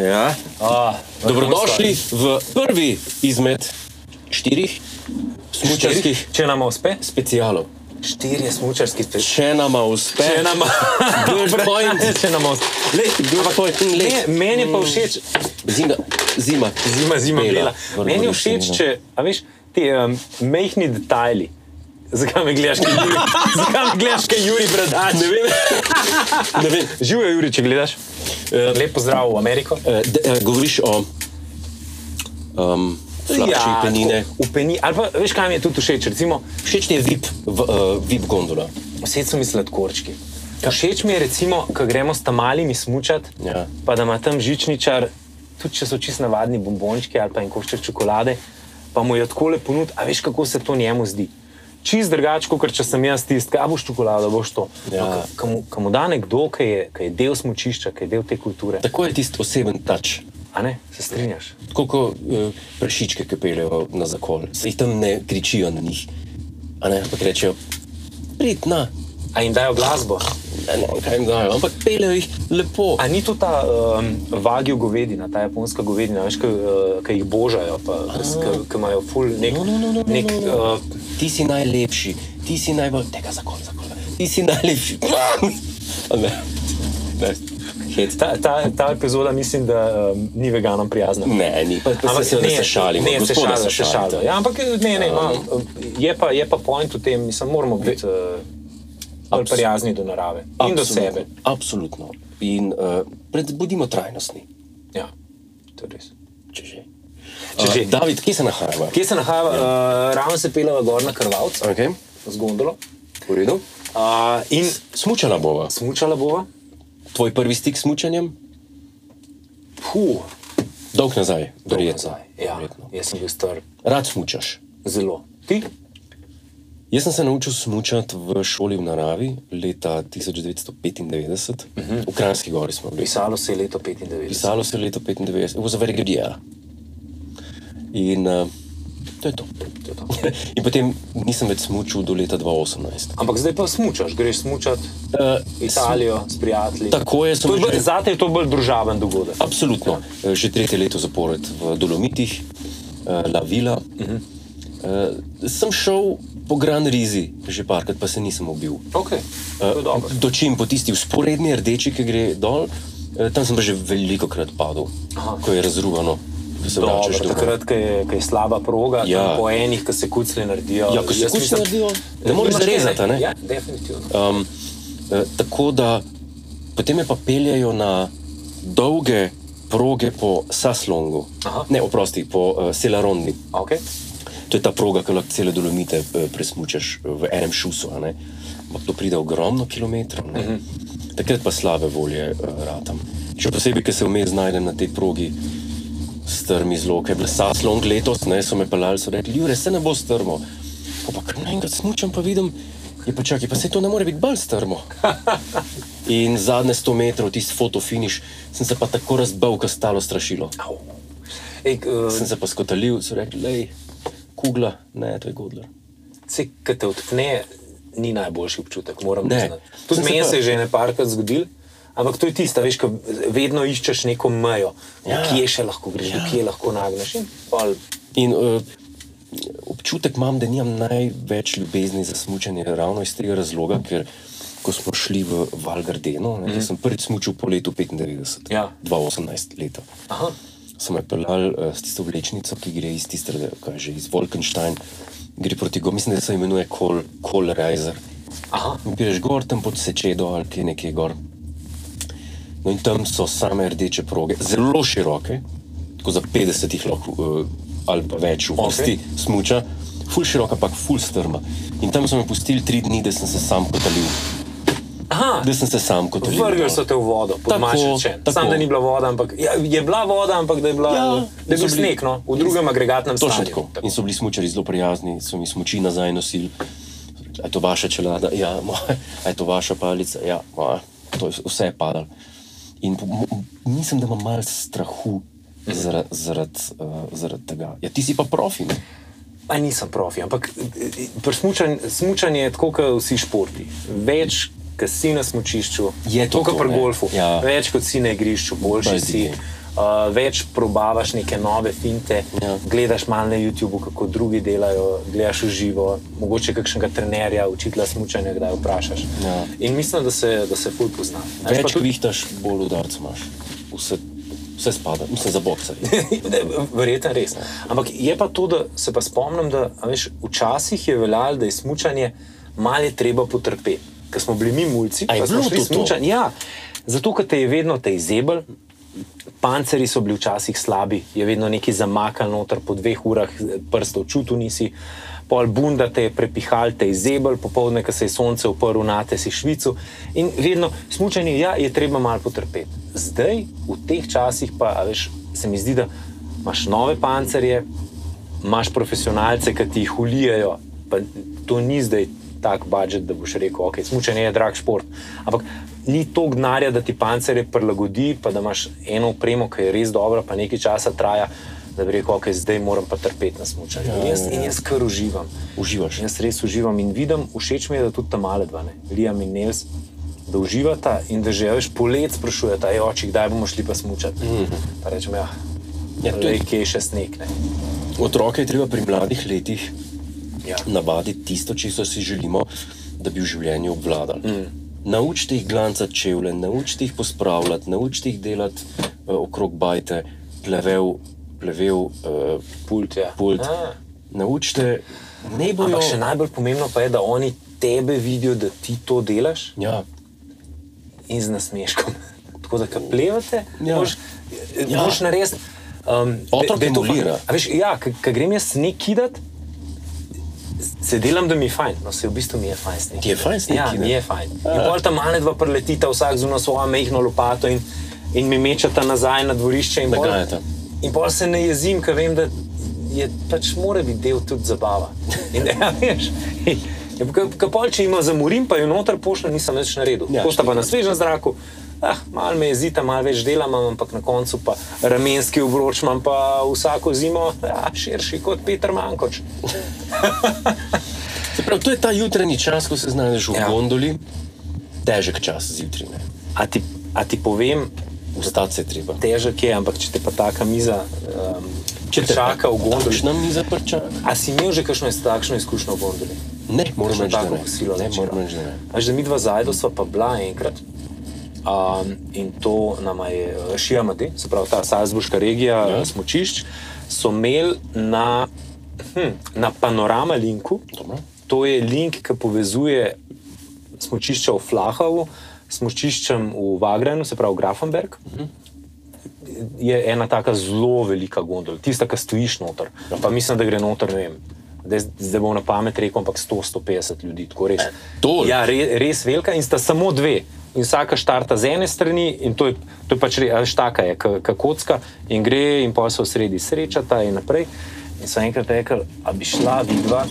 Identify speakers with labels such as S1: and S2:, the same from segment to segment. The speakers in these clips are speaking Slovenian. S1: Ja.
S2: A,
S3: Dobrodošli v prvi izmed štirih smučarskih
S2: Če nam uspe,
S3: specialov.
S1: Štirje smučarski spet.
S3: Če nama uspe,
S2: če nam
S3: good point,
S2: če nam uspe.
S3: Lej, good point, in lej.
S2: Ne, Meni pa všeč,
S3: Zima, zima.
S2: zima, zima
S3: Bela.
S2: bila.
S3: Vrlo
S2: Meni je
S3: res
S2: všeč,
S3: zima.
S2: če, a veš, ti um, mehni detajli. Zakaj me gledaš, kaj Juri? Zakaj me gledaš, kaj Juri, bradač?
S3: Ne vem, ne vem.
S2: Živijo, Juri, če gledaš. Ja,
S3: Eh,
S2: Lep pozdrav v Ameriko.
S3: Eh, de, eh, govoriš o um, flapči ja, penine.
S2: tako, V peni, ali pa veš, kaj mi je tudi všeč, recimo,
S3: Všeč ti je VIP, v, uh, VIP gondola.
S2: vse so mi sladkorčki. Všeč mi je, recimo, ko gremo s tamalimi smučati,
S3: Ja.
S2: pa da ima tam žičničar, tudi če so čist navadni bombončki ali pa en košček čokolade, pa mu je tako lepo nud, a veš, kako se to njemu zdi. Čist drugače, kot če sem jaz tisti, a boš čokolado, boš to.
S3: Ja.
S2: Ja. Kamu da nekdo, ki je, ki je del smočišča, ki je del te kulture.
S3: Tako je tisti oseben tač.
S2: A ne, se strinjaš?
S3: Tako kot uh, prašičke, ki peljejo na zakol. Se jih tam ne kričijo na njih, a ne, ampak rečejo, prid na,
S2: A jim dajo glasbo.
S3: ne, ne, kaj jim dajo, ampak peljejo jih lepo.
S2: A ni to ta um, vagil govedina, ta japonska govedina, veš, ki uh, jih božajo, pa ki imajo ful nek,
S3: No, no, no, no, no,
S2: nek
S3: no, no.
S2: uh,
S3: Ti si najlepši, ti si najbolj, tega zakol, zakol. Ti si najlepši. A ne, ne, hec.
S2: ta, ta, ta epizoda mislim, da um, ni veganom prijazna.
S3: Ne, ni, pa, pa se, se, ne, se šalimo,
S2: ne, se
S3: gospoda
S2: šalimo, se šalimo. Ja, ampak ne, ne, no, je pa, je pa point v tem, mislim, moramo biti uh, bolj
S3: Absolutno.
S2: prijazni do narave in do sebe.
S3: Absolutno. In uh, pred, bodimo trajnostni,
S2: Ja, to je res.
S3: če že.
S2: Če že.
S3: Uh, David, kje se nahajamo?
S2: Kje se nahaja, uh, ravno se pelava gor na krvavcu
S3: Okay.
S2: z gondolo
S3: V redu.
S2: uh, in
S3: Smučala bova.
S2: smučala bova.
S3: Tvoj prvi stik s smučanjem?
S2: Puh,
S3: Dolg nazaj, verjetno.
S2: nazaj. Ja,
S3: Verjetno.
S2: jaz sem bil star
S3: Rad smučaš.
S2: zelo. Ti?
S3: Jaz sem se naučil smučati v šoli v naravi leta 1995, uh -huh. v Kranjski gori smo bili.
S2: Pisalo se je leto 95.
S3: Pisalo se je leto 95, it was a very good year. In uh, to je to.
S2: To je to.
S3: In potem nisem več smučil do leta 2018.
S2: Ampak zdaj pa smučaš, greš smučati v
S3: Uh,
S2: Italijo s prijatelji.
S3: tako je, sem
S2: To je bolj-
S3: že-
S2: Zate je to bolj družaben dogodek.
S3: Absolutno. Eh, Že tretje leto zapored v Dolomitih, eh, La Vila. Uh -huh. Sem šel po Gran Rizi, že parkrat, pa se nisem obil.
S2: Okay.
S3: Eh, Dočim po tisti usporedni rdeči, ki gre dol, eh, tam sem pa že veliko krat padel,
S2: Aha.
S3: ko je razruvano, ko se vračaš
S2: Dobro,
S3: domov.
S2: takrat, ko je, ko je slaba proga,
S3: Ja.
S2: ja. po enih, ko se kucli naredijo.
S3: Ja, ko se
S2: Jaz
S3: kuclje
S2: mislim,
S3: naredijo, ne
S2: eh,
S3: moreš
S2: nimaš kaj,
S3: zarezati, a ne?
S2: Ja, definitivno.
S3: Um, eh, tako da potem me pa peljajo na dolge proge po Saslongu,
S2: Aha.
S3: ne oprosti, po uh, Selarondi.
S2: Okay.
S3: To je ta proga, ki lahko cele dolomite eh, presmučeš v enem šusu. a ne. Ampak to pride ogromno kilometrov. ne. Takrat pa slabe volje eh, ratam. Še posebej, ker se vmes znajdem na tej progi. Strmi zelo, ker je bil Saslong letos, ne so me pelali, so rekli, Jure, se ne bo strmo. Ko pa kar naenkrat smučam, pa vidim, je pa čakaj, pa se to ne more biti bolj strmo. In zadnje 100 metrov, tisti fotofiniš, sem se pa tako razbil, kot stalo strašilo
S2: Au. Ej, uh,
S3: sem se pa skotalil, so rekli, da je kugla, ne, to je godler.
S2: Se, ki te odpne, ni najboljši občutek, moram
S3: Ne.
S2: priznati. Tudi
S3: Sem se
S2: meni
S3: pa-
S2: se je že nekajkrat zgodil, ampak to je tisto, veš, ko vedno iščeš neko mejo, ja.
S3: Ja.
S2: kje še lahko greš, ja. kje lahko nagneš. In pol,
S3: In uh, občutek imam, da nimam največ ljubezni za smutanje, ravno iz tega razloga, ker ko smo šli v Valgardeno, mm -hmm. sem prvič smutil po letu 95,
S2: Mhm. Ja.
S3: 2018 leta.
S2: aha,
S3: Sem me pelal uh, s tisto vlečnico, ki gre iz tiste, kaj že iz Wolkenstein, gre proti go, mislim, da se imenuje Kol, Kol Reiser.
S2: aha,
S3: In greš gor, tam pod sečedo ali kje nekje gor. No in tam so same rdeče proge, zelo široke, tako za 50 jih lahko eh, ali pa več uvrsti, okay. smuča, ful široka, ampak ful strma. In tam so me pustili tri dni, da sem se sam kotalil,
S2: aha.
S3: da sem se sam kotalil.
S2: Vrgli so te v vodo, pod
S3: Tako,
S2: mačem. Sam,
S3: tako.
S2: da ni bila voda, ampak ja, je bila voda, ampak da je, bila,
S3: Ja,
S2: ja, da je bil
S3: so bili-
S2: sneg no, v drugem agregatnem
S3: Točno
S2: stanju.
S3: tako. In so bili smučari zelo prijazni, so mi smuči nazaj nosili. So rekli, A je to vaša čelada? Ja, moja. A je to vaša palica? Ja, moja. To je, vse je padalo. In po- mo- mislim, da imam malo strahu zaradi zarad, uh, zarad tega. Ja, ti si pa profi. Ne?
S2: Pa nisem profi, ampak eh, pri smučanj- smučanje je tako, kot vsi športi. Več, kot si na smučišču,
S3: Je to
S2: kot
S3: to,
S2: pri
S3: ne?
S2: golfu,
S3: Ja.
S2: več kot si na igrišču, boljši
S3: Brez
S2: si.
S3: dvoma.
S2: Uh, več probavaš neke nove finte,
S3: Ja.
S2: ja. gledaš malo na YouTubu, kako drugi delajo, gledaš v živo, mogoče kakšnega trenerja, učitla smučanja, kdaj vprašaš.
S3: Ja.
S2: In mislim, da se, da se ful pozna. A veš pa
S3: Več tudi... vihtaš, bolj udarc imaš. Vse, vse spada, mislim, za boksa.
S2: Ne, Verjetno res. Ampak je pa to, da se pa spomnim, da a veš, včasih je veljalo, da je smutanje malo je treba potrpeti. Ker smo bili mi mulci,
S3: A je
S2: pa smo
S3: bilo
S2: šli
S3: to to?
S2: smučanje. Ja, zato, ker te je vedno te izebel. Panceri so bili včasih slabi, je vedno nekaj zamakal noter, po dveh urah eh, prstov čutil nisi, pol bunda te je prepihal, te je zebel, popoldne, ko se je sonce uprlo na te si švicu. In vedno smučanje, ja, je treba malo potrpeti. Zdaj, v teh časih pa, a veš, se mi zdi, da imaš nove pancerje, imaš profesionalce, ki ti jih ulijajo. Pa to ni zdaj tak budžet, da boš rekel, ok, smučanje je drag šport. Ampak ni to gnarja, da ti pancerje prilagodi, pa da imaš eno opremo, ki je res dobra, pa nekaj časa traja, da bi rekel, ok, zdaj moram pa trpeti na smučanje. In jaz, in jaz kar uživam.
S3: Uživaš.
S2: Jaz res uživam in vidim, všeč mi je, da tudi tam male dva, ne, Liam in Nels. Da uživata in da že veš, polet sprašujeta, "Ej, oči, kdaj bomo šli pa smučati. Mm -hmm. Pa rečem, ja,
S3: Ja,
S2: ja
S3: to
S2: to je
S3: je-
S2: kje je še sneg. Ne?
S3: Otroke je treba pri mladih letih
S2: Ja.
S3: navaditi tisto, če si želimo, da bi v življenju obvladali. Mm. Naučite jih glancati čevlje, naučite jih pospravljati, naučite jih delati uh, okrog bajte, plevel, plevel uh,
S2: Pult, ja.
S3: pult.
S2: Ah.
S3: Naučite, ne bojo.
S2: Ampak še najbolj pomembno pa je, da oni tebe vidijo, da ti to delaš
S3: Ja,
S2: in z nasmeškom. Tako da, ko plevate,
S3: Ja.
S2: ja. moš,
S3: Ja.
S2: ja. moš narediti. Um,
S3: Otrok
S2: da- da je to
S3: emulira.
S2: fajn. A Veš, ja, ko grem jaz snik kidat, se delam, da mi je fajn. No, se v bistvu mi je fajn snik.
S3: Ti je fajn sneg
S2: Ja,
S3: kidat?
S2: mi je fajn. In pol tam male dva preletita vsak zunaj svojo mehko lopato in, in me mečeta nazaj na dvorišče. in pol-
S3: Naganjata.
S2: In pol se ne jezim, ker vem, da je pač mora biti del tudi zabava. In, ja, veš, je, ka, ka pol, če ima zamorim, pa jo noter pošljem, nisem več naredil.
S3: Ja,
S2: Ja, Pošta pa na svežem zraku. Ah, malo me jezita, malo več dela imam, ampak na koncu pa ramenski obroč imam pa vsako zimo ja, širši kot Petr Mankoč.
S3: Se pravi, to je ta jutranji čas, ko se znajdeš v ja.
S2: Ja.
S3: gondoli, težek čas zjutraj. ne.
S2: A ti, a ti povem,
S3: Vstati se je treba.
S2: težek je, ampak če te pa taka miza um,
S3: Če te
S2: čaka v gondoli.
S3: Takšna miza prča.
S2: A si imel že kakšno takšno izkušnjo v gondoli?
S3: Ne, moram
S2: Kakšno
S3: reči, da
S2: tako
S3: ne.
S2: kosilo
S3: Ne,
S2: večera?
S3: moram reči, da ne.
S2: A že mi dva zajedno sva pa bila enkrat. Um, in to nam je Šijamadi, se pravi ta Salzburška regija
S3: Ja.
S2: ja. smočišč, so imeli na, hm, na panorama linku.
S3: Dobro.
S2: To je link, ki povezuje smočišča v Flahavu s smočiščem v Vagrenu, se pravi Grafenberg. Je ena tako zelo velika gondola, tista, ki stojiš noter. Pa mislim, da gre noter, ne vem. Zdaj, zdaj bom na pamet rekel, ampak 100-150 ljudi, tako res.
S3: toliko?
S2: Ja, re, res velika in sta samo dve. In vsaka štarta z ene strani, in to je, to je pač re- a veš, taka je, kot kocka, in gre, in pa se v sredi srečata in naprej. In so enkrat rekli, da bi šla vidva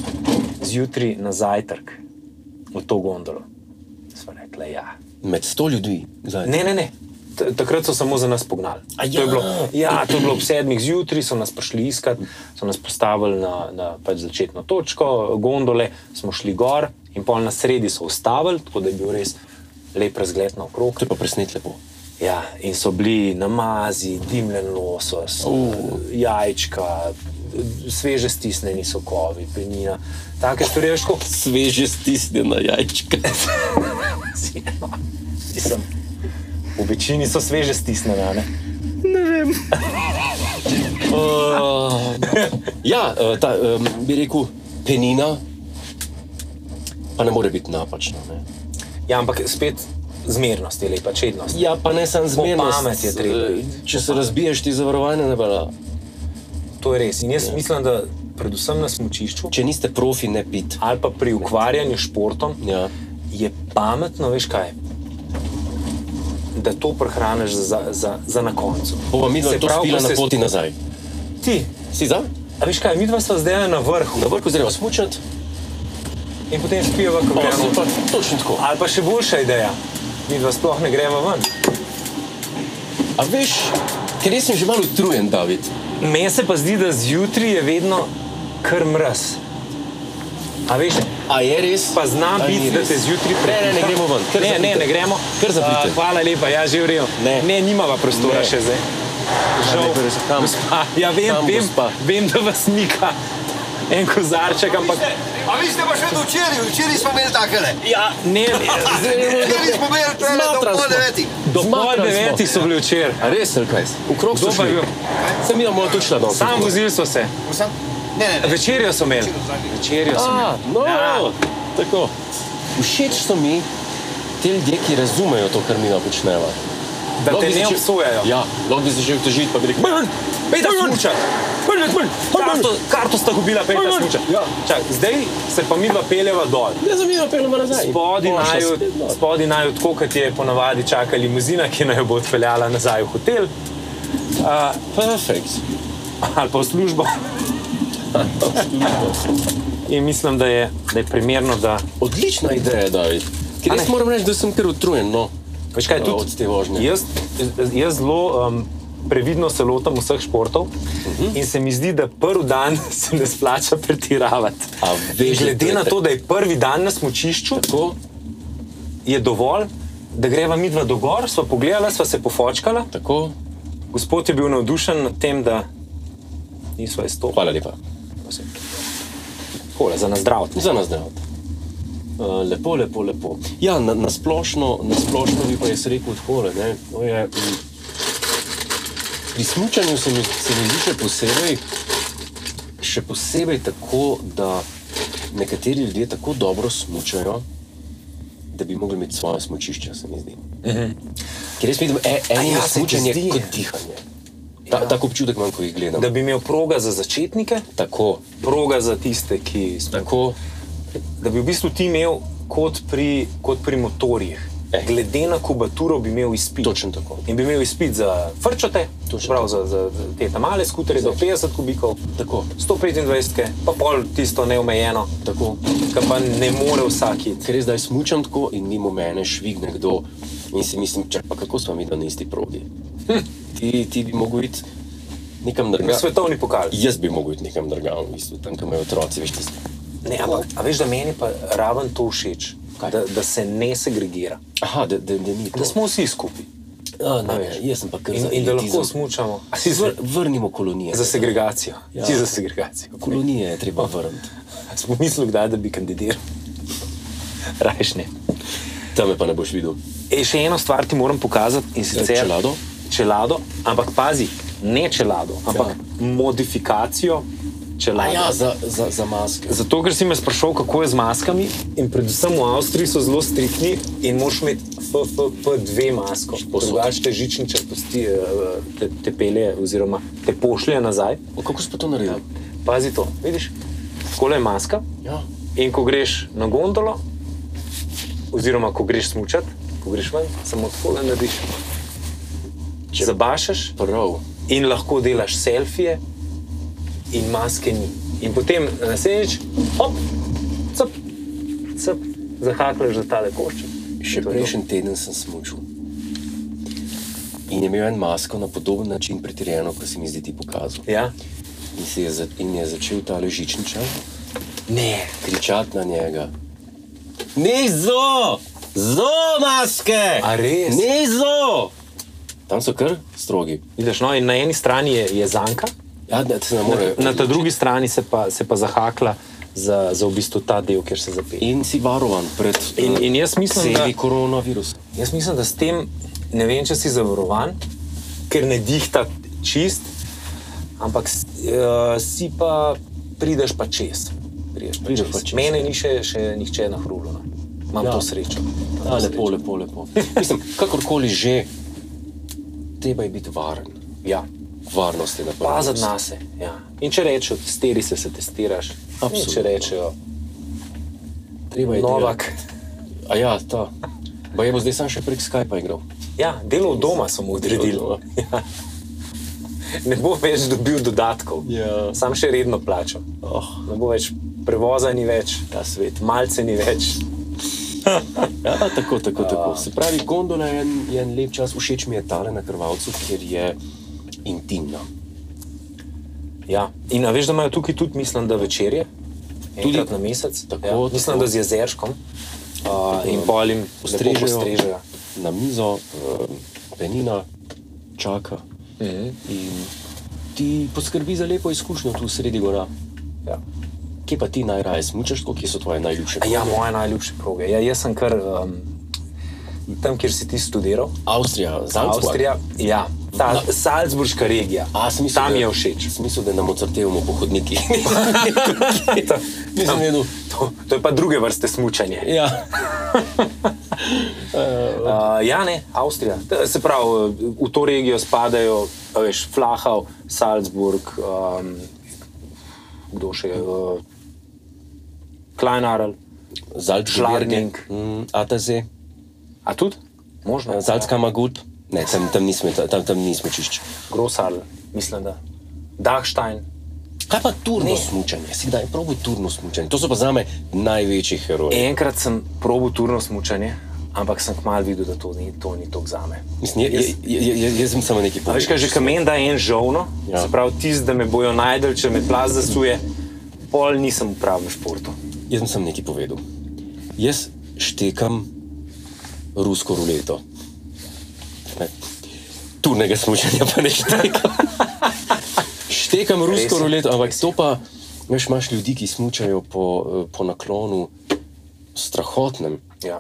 S2: zjutraj na zajtrk v to gondolo. Sva rekla, ja.
S3: Med sto ljudi. Zdaj.
S2: Ne, ne, ne. Ta- Takrat so samo za nas pognali. To
S3: A ja.
S2: je bilo, ja, to je bilo ob sedmih zjutraj, so nas prišli iskat, so nas postavili na, na pač začetno točko, gondole, smo šli gor in pol na sredi so ustavili, tako da je bil res lep razgled naokrog.
S3: To je pa presnet lepo.
S2: Ja, in so bili namazi, dimljen losos, uh. jajčka, sveže stisnjeni sokovi, penina. Take stvari, veš, kot
S3: Sveže stisnjena jajčka.
S2: si. Mislim, v večini so sveže stisnjena. Ne?
S3: uh, ja, eh, ta, um, bi rekel, penina, pa ne more biti napačna. Ne.
S2: Ja, ampak spet zmernost je lepa, čednost.
S3: Ja, pa ne samo zmerno.
S2: pamet je treba iti.
S3: Če se razbiješ, ti zavarovanje ne bala.
S2: To je res. In jaz mislim, da predvsem na smočišču
S3: Če niste profi, ne pit.
S2: ali pa pri ukvarjanju s športom
S3: Ja.
S2: je pametno, veš kaj. Da to prehraniš za, za, za na koncu.
S3: Bova mi
S2: Se
S3: to
S2: pravi,
S3: spila
S2: ko
S3: na
S2: se-
S3: poti nazaj.
S2: Ti,
S3: Si za?
S2: a veš kaj, mi dva smo zdaj na vrhu
S3: Na vrhu zreva smučati,
S2: in potem spijemo, kako
S3: pa se
S2: gremo.
S3: pa točno tako.
S2: Ali pa še boljša ideja, mi dva sploh ne gremo ven.
S3: A veš, ker jaz sem že malo utrujen, David.
S2: Meni se pa zdi, da zjutraj je vedno kar mraz. A veš,
S3: A je res?
S2: pa znam
S3: A ni
S2: biti, da
S3: res?
S2: te zjutraj
S3: Ne, ne, ne
S2: prepiha.
S3: gremo ven. Kar
S2: Ne, ne,
S3: zapite.
S2: ne gremo.
S3: Kar zapite.
S2: A, hvala lepa, ja, že v redu.
S3: Ne.
S2: ne nimava prostora
S3: Ne.
S2: ne. še zdaj. Žal,
S3: ne, res, kam?
S2: gospa. Ja, vem,
S3: Kam,
S2: vem,
S3: gospa?
S2: vem, da vas mika en kozarček, ampak
S4: A vi ste pa še do včeraj, včeraj smo imeli takele.
S2: ja, ne,
S4: Včeraj smo imeli tele do
S3: Zmatran
S4: pol
S3: smo.
S4: devetih.
S2: do pol
S3: Zmatran smo.
S2: devetih so bili včeraj.
S3: A res, ali kaj? V krog so
S2: Kdo pa je
S3: šli.
S2: bil?
S3: Sem jim malo točila dol.
S2: Sam vozili so se,
S4: Vsem? Ne, ne, ne.
S2: večerjo so imeli. Večerjo so
S3: A, no,
S2: Ja.
S3: tako. Všeč so mi ti ljudje, ki razumejo to, kar mi ga počneva.
S2: Da
S3: Lahko
S2: te
S3: bi
S2: ne
S3: začel-
S2: obsojajo.
S3: Ja, lahko bi se že vtožil, pa bi rekel: "Brn,
S2: Pejta
S3: brn,
S2: smuča.
S3: brn, brn, brn, brn."
S2: Karto, karto sta gubila, pejta
S3: Ajaj.
S2: smuča.
S3: Ja.
S2: Čak, zdaj se pa mi dva peljeva dol.
S3: Ne zanima, pelemo nazaj.
S2: Spodi
S3: Boš,
S2: naju,
S3: spet dol.
S2: spodi naju, tako kot je ponavadi čaka limuzina, ki naj jo bo odpeljala nazaj v hotel
S3: Perfekt.
S2: ali pa v službo. In mislim, da je, da je primerno, da
S3: Odlična ideja, David. Ker
S2: A
S3: jaz
S2: ne?
S3: moram reči, da sem kar utrujen. No.
S2: Veš kaj,
S3: Ja,
S2: tudi
S3: od te vožnje.
S2: Jaz, jaz zelo um, previdno se lotim vseh športov uh
S3: Mhm.
S2: -huh. in se mi zdi, da prvi dan se ne splača pretiravati.
S3: A veš, da to
S2: Glede
S3: je
S2: na
S3: tak-
S2: to, da je prvi dan na smočišču,
S3: Tako,
S2: je dovolj, da greva midva do gor, sva pogledala, sva se pofočkala.
S3: tako.
S2: Gospod je bil navdušen nad tem, da nisva izstopala.
S3: Hvala lepa.
S2: Hvala za nas zdrav.
S3: Za nas ne. Uh, lepo, lepo, lepo. Ja, na, na, splošno, na splošno bi pa jaz rekel tako. mm, Pri smučanju se mi, se mi zdi še posebej, še posebej tako, da nekateri ljudje tako dobro smučajo, da bi mogli imeti svoje smučišče, se mi zdi. Ker jaz vidim, e, eno
S2: Mhm. A ja,
S3: ja,
S2: se ti
S3: smučanje
S2: zdi?
S3: kot dihanje. Ta, ja. Tako občutek imam, ko jih gledam.
S2: Da
S3: Da.
S2: bi imel proga za začetnike,
S3: Tako,
S2: proga za tiste, ki smo
S3: tako.
S2: da bi v bistvu ti imel kot pri, kot pri motorjih.
S3: Eh.
S2: Eh. Glede na kubaturo bi imel izpit.
S3: Točno tako.
S2: In bi imel izpit za frčate,
S3: Točno
S2: prav za, za za te ta male skuterje do 50 kubikov,
S3: tako.
S2: 125, pa pol tisto neomejeno,
S3: tako.
S2: kar pa ne more vsak iti.
S3: Ker jaz zdaj smučam tako in mimo mene švigne kdo. In si mislim, čak, pa kako smo mi na isti progi. Hm, Ti, ti bi mogel iti nekam
S2: Ja.
S3: drugam.
S2: Svetovni pokal.
S3: Jaz bi mogel iti nekam drugam, v bistvu, tam, kam imajo otroci, veš, tisto.
S2: Ne, ampak, a veš, da meni pa raven to všeč,
S3: Kaj?
S2: da, da se ne segregira,
S3: Aha, da, da, da ni to.
S2: da smo vsi skupaj
S3: A, ne, jaz sem pa kar
S2: in,
S3: za
S2: in da
S3: elitizem.
S2: lahko smučamo. A si
S3: Si
S2: za,
S3: Vr, vrnimo kolonije.
S2: za segregacijo,
S3: Ja.
S2: ja. si za segregacijo.
S3: Kolonije je treba vrniti.
S2: Smo mislili, kdaj, da bi kandidiral. Rajš ne.
S3: Tam me pa ne boš videl.
S2: E, še eno stvar ti moram pokazati in sicer
S3: čelado?
S2: Čelado, ampak pazi, ne čelado, ampak ja. modifikacijo
S3: A
S2: čelada.
S3: ja, za, za, za maske.
S2: Zato, ker si me sprašal, kako je z maskami, in predvsem v Avstriji so zelo striktni in moraš imeti FFP2 masko.
S3: Povsod.
S2: Drugač te žičničar pusti, eh, te, te pelje oziroma te pošlje nazaj.
S3: O, kako si pa to naredil?
S2: Pazi to, vidiš, kole je maska,
S3: Ja.
S2: In ko greš na gondolo, oziroma ko greš smučati, ko greš ven, samo tako le narediš. Če zabašaš
S3: Prav.
S2: in lahko delaš selfije, in maske ni. In potem naslednjič, hop, cep, cep, zahaklaš za tale košček. In
S3: Še
S2: to je to.
S3: prejšnji teden sem smučil. In je imel en masko na podoben način pretirjeno, kot si mi zdaj ti pokazal.
S2: Ja?
S3: In, se je, za, in je začel ta ležičničar
S2: Ne.
S3: kričati na njega. Nizo! Zo maske!
S2: A res?
S3: Nizo! Tam so kar strogi.
S2: Vidiš, no, in na eni strani je, je zanka,
S3: Ja, da se ne more.
S2: na ta drugi strani se pa, se pa zahakla za, za v bistvu ta del, kjer se zapelje.
S3: In si varovan pred
S2: In- in jaz mislim,
S3: sebi
S2: da-
S3: koronavirusa.
S2: Jaz mislim, da s tem ne vem, če si zavarovan, ker ne dihta čist, ampak uh, si pa prideš pa čez. Prideš pa
S3: Prideš
S2: čez.
S3: pa čez.
S2: Mene ni še, še nihče nahrulo. No. Imam
S3: Ja.
S2: ja. to srečo. Imam
S3: Ja,
S2: to
S3: lepo,
S2: srečo.
S3: lepo, lepo. Mislim, kakorkoli že, treba je biti varen.
S2: Ja.
S3: Varnost je na prvem
S2: Paziti
S3: mestu.
S2: na se. Ja. In če rečejo, testiri se, se testiraš. In
S3: Absolutno.
S2: Če rečejo,
S3: Treba je
S2: Novak.
S3: delati. A ja, ta. Pa je bo zdaj sam še prek Skypa igral.
S2: Ja, delo od doma sem odredil.
S3: Delo od
S2: Ja. Ne bo več dobil dodatkov,
S3: Ja.
S2: sam še redno plačam.
S3: Oh,
S2: Ne bo več prevoza, ni več,
S3: ta svet.
S2: malce ni več.
S3: Ja, tako, tako, tako. Se pravi, gondola je en, je en lep čas, všeč mi je tale na krvavcu, ker je intimna.
S2: Ja. In a veš, da imajo tukaj tudi, mislim, da večerje,
S3: Tudi?
S2: tudi na mesec.
S3: Tako,
S2: ja.
S3: tako.
S2: Mislim, da z jezerškom uh, in polim
S3: Postrežejo.
S2: strežejo.
S3: Na mizo, eh, penina, čaka.
S2: Mhm.
S3: In ti poskrbi za lepo izkušnjo tu sredi gora.
S2: Ja.
S3: Kje pa ti najraje smučaš, tako? kje so tvoje najljubše?
S2: A Ja, moje najljubše proge. Ja, jaz sem kar um, tam, kjer si ti študiral.
S3: Avstrija, Zandvoort.
S2: Avstrija, ja, ta
S3: Na-
S2: Salzburška regija.
S3: A, sem mislil,
S2: tam
S3: da-
S2: je všeč.
S3: Sem mislil, da nam odcrtevamo po hodnikih. Nisem vedel.
S2: To, to je pa druge vrste smutanje.
S3: Ja.
S2: Uh, ja, ne, Avstrija. T- Se pravi, v to regijo spadajo, a veš, Flahau, Salzburg, um, kdo še je, uh, Kleinarl,
S3: Zalčlarning, Ataze,
S2: a tudi? Možno,
S3: Zalcka Magut. Ne, tam, tam nismo, tam, tam nismo čišč.
S2: Grosarl, mislim, da. Dachstein.
S3: Kaj pa turno smučanje? Si kdaj probi turno smučanje? To so pa zame največji heroji.
S2: Enkrat sem probil turno smutanje, ampak sem kmalu videl, da to ni, to ni to za me.
S3: Mislim, jaz, jaz, jaz, jaz sem samo nekaj
S2: A
S3: povedal.
S2: Veš, kaj že kamen da en žovno,
S3: Ja.
S2: ja. se pravi, tisti, da me bojo najdel, če me plaz zasuje, pol nisem v pravem športu.
S3: Jaz sem samo nekaj povedal. Jaz štekam rusko ruleto. Ne. Turnega smučanja pa ne štekam. štekam
S2: Res
S3: rusko
S2: je,
S3: ruleto, ampak to pa, veš, imaš ljudi, ki smučajo po, eh, po naklonu strahotnem.
S2: Ja.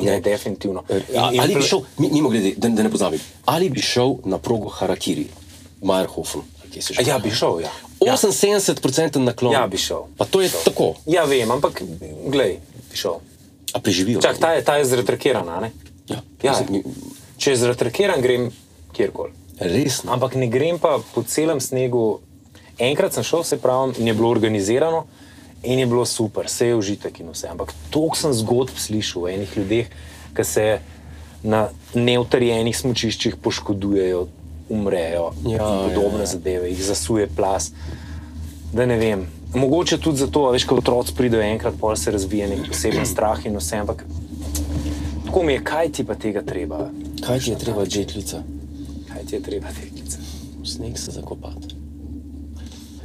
S2: Ne, definitivno.
S3: A, Ja, ali bi
S2: pl-
S3: šel, mi- mimo glede, da, da ne pozabim, ali bi šel na progo Harakiri, Majerhofen.
S2: Ja, bi šel. Ja. Ja.
S3: 78% naklon.
S2: Ja, bi šel.
S3: Pa to je tako,
S2: ja, vem, ampak glej, bi šel.
S3: a preživijo.
S2: Čak, ta je, ta je zretrakirana, a ne?
S3: Ja,
S2: Ja,
S3: mislim,
S2: je. Če je zretrakiran, grem kjerkoli.
S3: Resno.
S2: Ampak ne grem pa po celem snegu. Enkrat sem šel, se pravi, in je bilo organizirano in je bilo super, vse je užitek in vse. Ampak toliko sem zgodb slišal o enih ljudeh, ki se na neutrjenih smočiščih poškodujejo, umrejo
S3: Ja,
S2: ja, in podobne
S3: ja, ja.
S2: ja. zadeve, jih zasuje plas. Da ne vem. Mogoče tudi zato, a veš, ko otroci pridejo enkrat, pol se razvije nek poseben strah in vse. Ampak tako mi je, kaj ti pa tega treba,
S3: Kaj ti je treba, žetljica?
S2: kaj ti je treba teklice.
S3: V sneg se zakopati.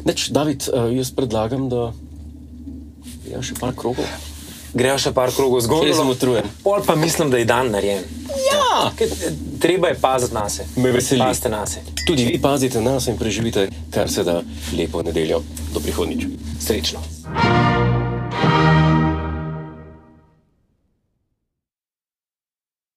S3: Neč, David, eh, jaz predlagam, da je še par krogov.
S2: Grejo še par krogov
S3: Res sem
S2: zgolj. no,
S3: utrujen.
S2: Pol pa mislim, da je dan narejen.
S3: Ja!
S2: Ker, eh, Treba je paziti na sebe.
S3: Me veseli.
S2: Pazite na sebe.
S3: Tudi vi pazite na nas in preživite kar se da lepo nedeljo. Do prihodnjič.
S2: Srečno.